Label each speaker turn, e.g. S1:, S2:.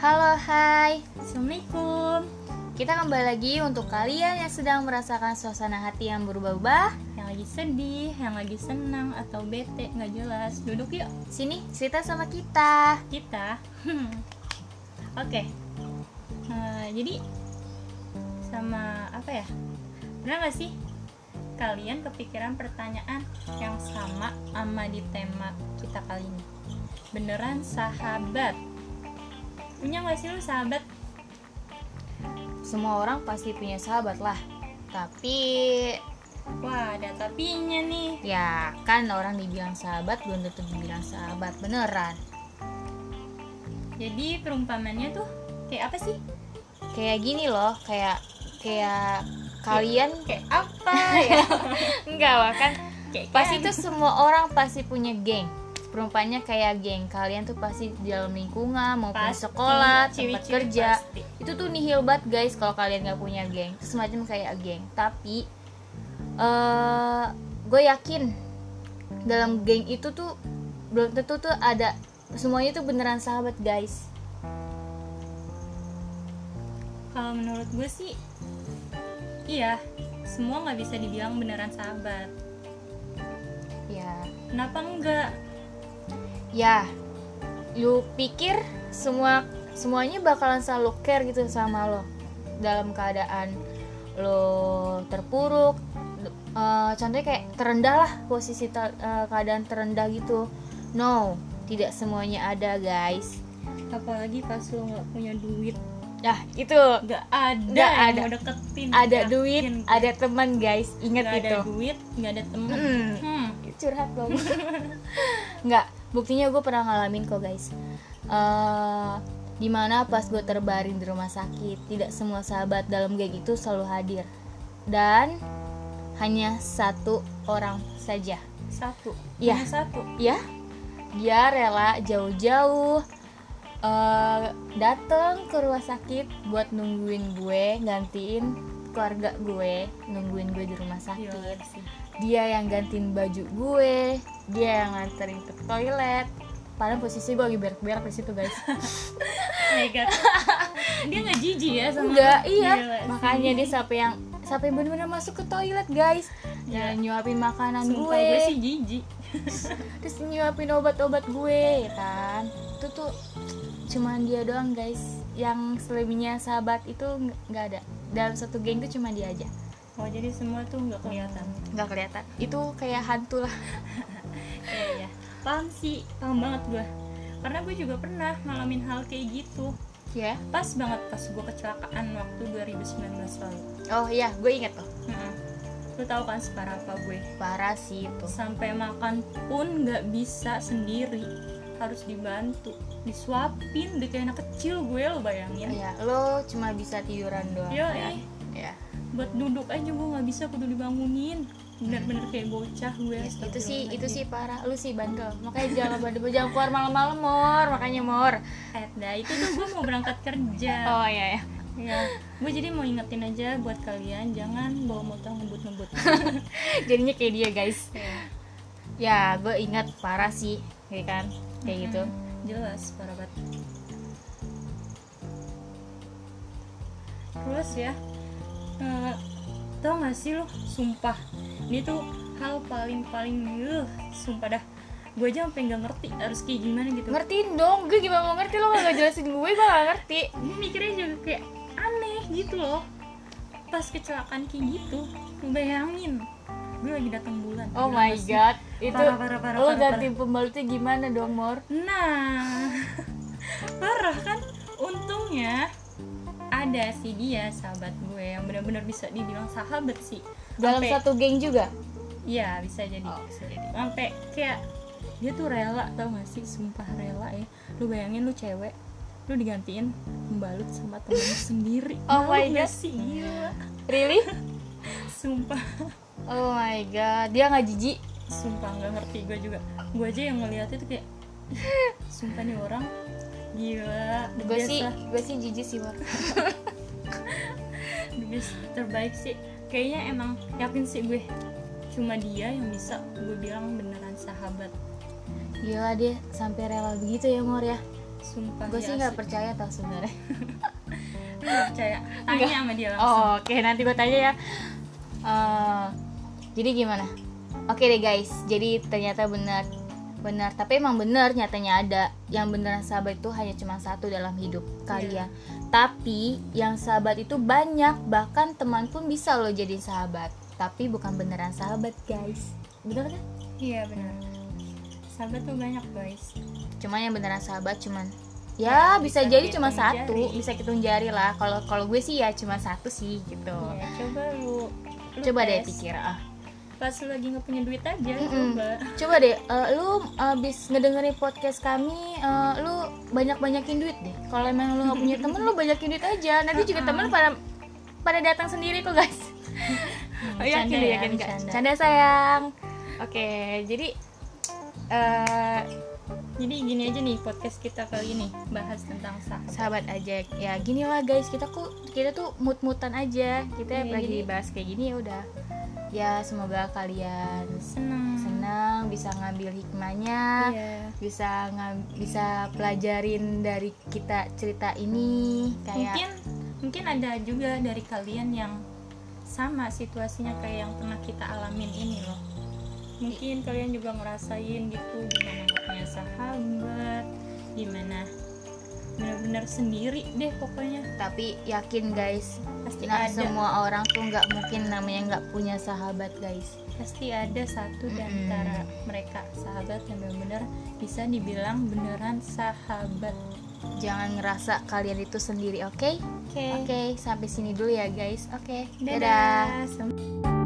S1: Halo, hai.
S2: Assalamualaikum
S1: Kita kembali lagi untuk kalian yang sedang merasakan suasana hati yang berubah-ubah.
S2: Yang lagi sedih, yang lagi senang atau bete, nggak jelas Duduk yuk,
S1: Sini, cerita sama kita.
S2: kita Oke Eh, Jadi Sama apa ya Pernah nggak sih kalian kepikiran pertanyaan yang sama sama di tema kita kali ini Beneran sahabat Punya nggak sih lu sahabat?
S1: Semua orang pasti punya sahabat lah. Tapi
S2: Wah ada tapinya nih
S1: ya kan orang dibilang sahabat belum tentu dibilang sahabat beneran.
S2: Jadi perumpamannya tuh kayak apa sih?
S1: Kayak gini loh, kayak kayak kalian
S2: Kayak apa ya?
S1: enggak lah kan
S2: Kayak
S1: pasti
S2: kan.
S1: tuh semua orang pasti punya geng perumpamanya kayak geng kalian tuh pasti di dalam lingkungan maupun
S2: Pasti,
S1: sekolah tempat
S2: ciwi-ciwi
S1: kerja
S2: pasti.
S1: itu tuh nihil banget guys kalau kalian nggak punya geng Itu semacam kayak geng tapi eh gue yakin dalam geng itu tuh belum tentu tuh ada semuanya tuh beneran sahabat guys
S2: Kalau menurut gue sih, iya, semua nggak bisa dibilang beneran sahabat.
S1: ya
S2: Kenapa enggak?
S1: ya lu pikir semua semuanya bakalan selalu care gitu sama lo dalam keadaan lo terpuruk d- eh, contohnya kayak terendah lah posisi ter- eh, keadaan terendah gitu no tidak semuanya ada guys
S2: Apalagi pas lo nggak punya duit,
S1: dah itu
S2: nggak ada
S1: Nggak
S2: yang
S1: ada.
S2: mau deketin.
S1: ada
S2: Yakin
S1: duit
S2: gue.
S1: ada gitu. teman guys ingat
S2: ya, nggak ada
S1: itu
S2: duit, nggak ada temen.
S1: Mm.
S2: Hmm,
S1: curhat dong nggak buktinya gue pernah ngalamin kok guys Eh, dimana pas gue terbaring di rumah sakit tidak semua sahabat dalam geng itu selalu hadir dan hanya satu orang saja
S2: satu.
S1: Iya.
S2: Cuma Satu.
S1: ya dia rela jauh-jauh eh datang ke rumah sakit buat nungguin gue gantiin keluarga gue nungguin gue di rumah sakit
S2: Gila sih.
S1: dia yang gantiin baju gue dia yang nganterin ke toilet padahal posisi gue lagi berak-berak di situ guys
S2: Oh my God. Dia nggak jijik ya sama
S1: enggak
S2: lo? Gila
S1: iya
S2: sih.
S1: makanya dia sampai yang sampai bener-bener masuk ke toilet guys
S2: Ya.
S1: dan nyuapin makanan
S2: Sumpah
S1: gue,
S2: gue sih jijik.
S1: terus nyuapin obat-obat gue ya kan itu tuh cuman dia doang guys yang selebihnya sahabat itu nggak- nggak ada dalam satu geng tuh cuma dia aja
S2: Oh jadi semua tuh nggak kelihatan.
S1: nggak kelihatan itu kayak hantu lah
S2: Iya, iya. paham sih, paham banget gue. Karena gue juga pernah ngalamin hal kayak gitu.
S1: ya
S2: Pas banget pas gue kecelakaan waktu 2019 lalu.
S1: oh iya gue inget loh
S2: Mm-mm. Lu tahu kan separah apa gue?
S1: parah sih itu
S2: Sampai makan pun nggak bisa sendiri, harus dibantu, disuapin, udah kayak anak kecil gue lo bayangin.
S1: Ya, lo cuma bisa tiduran doang.
S2: Yo,
S1: ya.
S2: eh,
S1: Ya.
S2: buat duduk aja gue nggak bisa kudu dibangunin. Bener-bener kayak bocah gue.
S1: Iya, Itu sih, itu sih parah. Lu sih bandel. Makanya jangan bandel, jangan keluar malam-malam, Mor. Makanya, Mor.
S2: Eh, dah, itu tuh gue mau berangkat kerja.
S1: Oh, iya ya.
S2: Ya, gue jadi mau ingetin aja buat kalian jangan bawa motor ngebut-ngebut.
S1: Jadinya kayak dia, guys. Ya, gue ingat parah sih, ya kan? Kayak gitu.
S2: Mm, Jelas, parah banget. Terus ya, eh, tau gak sih lo, sumpah, ini tuh hal paling-paling eh, sumpah dah. Gue aja sampai nggak ngerti harus kayak gimana gitu.
S1: Ngertiin dong, gue gimana mau ngerti lo gak jelasin gue, gue gak ngerti.
S2: Gue mikirnya juga kayak aneh gitu loh. Pas kecelakaan kayak gitu, lu bayangin, gue lagi datang bulan.
S1: Oh
S2: gila
S1: my
S2: gak sih?
S1: god, itu
S2: Parah, parah, parah,
S1: lo
S2: parah,
S1: ganti pembalutnya gimana dong, Mor?
S2: Nah, parah kan? Untungnya ada sih dia sahabat gue yang benar-benar bisa dibilang sahabat sih.
S1: Dalam
S2: Sampai-
S1: satu Oh. geng juga.
S2: Iya bisa jadi. Sampai kayak dia tuh rela tau gak sih? Sumpah rela ya. Lu bayangin lu cewek, lu digantiin pembalut sama temen lu sendiri.
S1: Oh
S2: Malu
S1: my
S2: gak
S1: God.
S2: sih gila.
S1: Really?
S2: Sumpah,
S1: Oh my god, dia nggak jijik.
S2: sumpah nggak ngerti gue juga. Gue aja yang ngeliatnya tuh kayak, "Ih, sumpah nih orang gila. the
S1: Gue
S2: best
S1: sih,
S2: lah."
S1: gue sih jijik sih, Mor.
S2: the best terbaik sih kayaknya emang yakin sih gue cuma dia yang bisa gue bilang beneran sahabat
S1: Gila dia sampai rela begitu ya Mor ya
S2: sumpah
S1: gue
S2: dia
S1: sih nggak
S2: asli.
S1: percaya tau sebenarnya
S2: Lu nggak percaya tanya
S1: Nggak.
S2: sama dia langsung
S1: oh, oke nanti gue tanya ya Eh, jadi gimana oke deh guys jadi ternyata benar benar tapi emang benar nyatanya ada yang beneran sahabat itu hanya cuma satu dalam hidup kalian tapi yang sahabat itu banyak bahkan teman pun bisa loh jadi sahabat tapi bukan beneran sahabat guys bener kan
S2: iya benar sahabat tuh banyak guys
S1: cuman yang beneran sahabat cuman ya bisa,
S2: bisa
S1: jadi cuma
S2: dihitung
S1: satu
S2: jari.
S1: bisa hitung jari lah kalau kalau gue sih ya cuma satu sih gitu
S2: Iya, coba lu, lu
S1: coba deh
S2: tes.
S1: pikir ah
S2: pas lu lagi nggak punya duit aja
S1: Mm-mm.
S2: coba
S1: coba deh eh, lu abis ngedengerin podcast kami eh, lu banyak banyakin duit deh kalau emang lu nggak punya temen lu banyakin duit aja nanti juga temen pada pada datang sendiri kok guys
S2: Oh, yakin
S1: Bercanda
S2: deh, yakin, Kak.
S1: bercanda. Bercanda, sayang ya, oke jadi eh
S2: jadi gini aja nih podcast kita kali ini bahas tentang sahabat
S1: sahabat aja ya gini lah guys kita kok kita tuh mut-mutan aja kita
S2: Iya,
S1: lagi
S2: jadi-
S1: bahas kayak gini ya udah ya semoga kalian
S2: seneng
S1: senang bisa ngambil hikmahnya
S2: Iya.
S1: bisa ngam- bisa pelajarin dari kita cerita ini kayak
S2: mungkin mungkin ada juga dari kalian yang sama situasinya kayak yang pernah kita alamin ini loh mungkin kalian juga ngerasain gitu gimana nggak punya sahabat gimana benar-benar sendiri deh pokoknya
S1: tapi yakin guys
S2: pasti
S1: nah,
S2: Iya, ada
S1: semua orang tuh nggak mungkin namanya nggak punya sahabat guys
S2: pasti ada satu di
S1: Mm-mm.
S2: antara mereka sahabat yang benar-benar bisa dibilang beneran sahabat
S1: jangan ngerasa kalian itu sendiri oke
S2: oke
S1: oke sampai sini dulu ya guys oke dadah.
S2: dadah. Sampai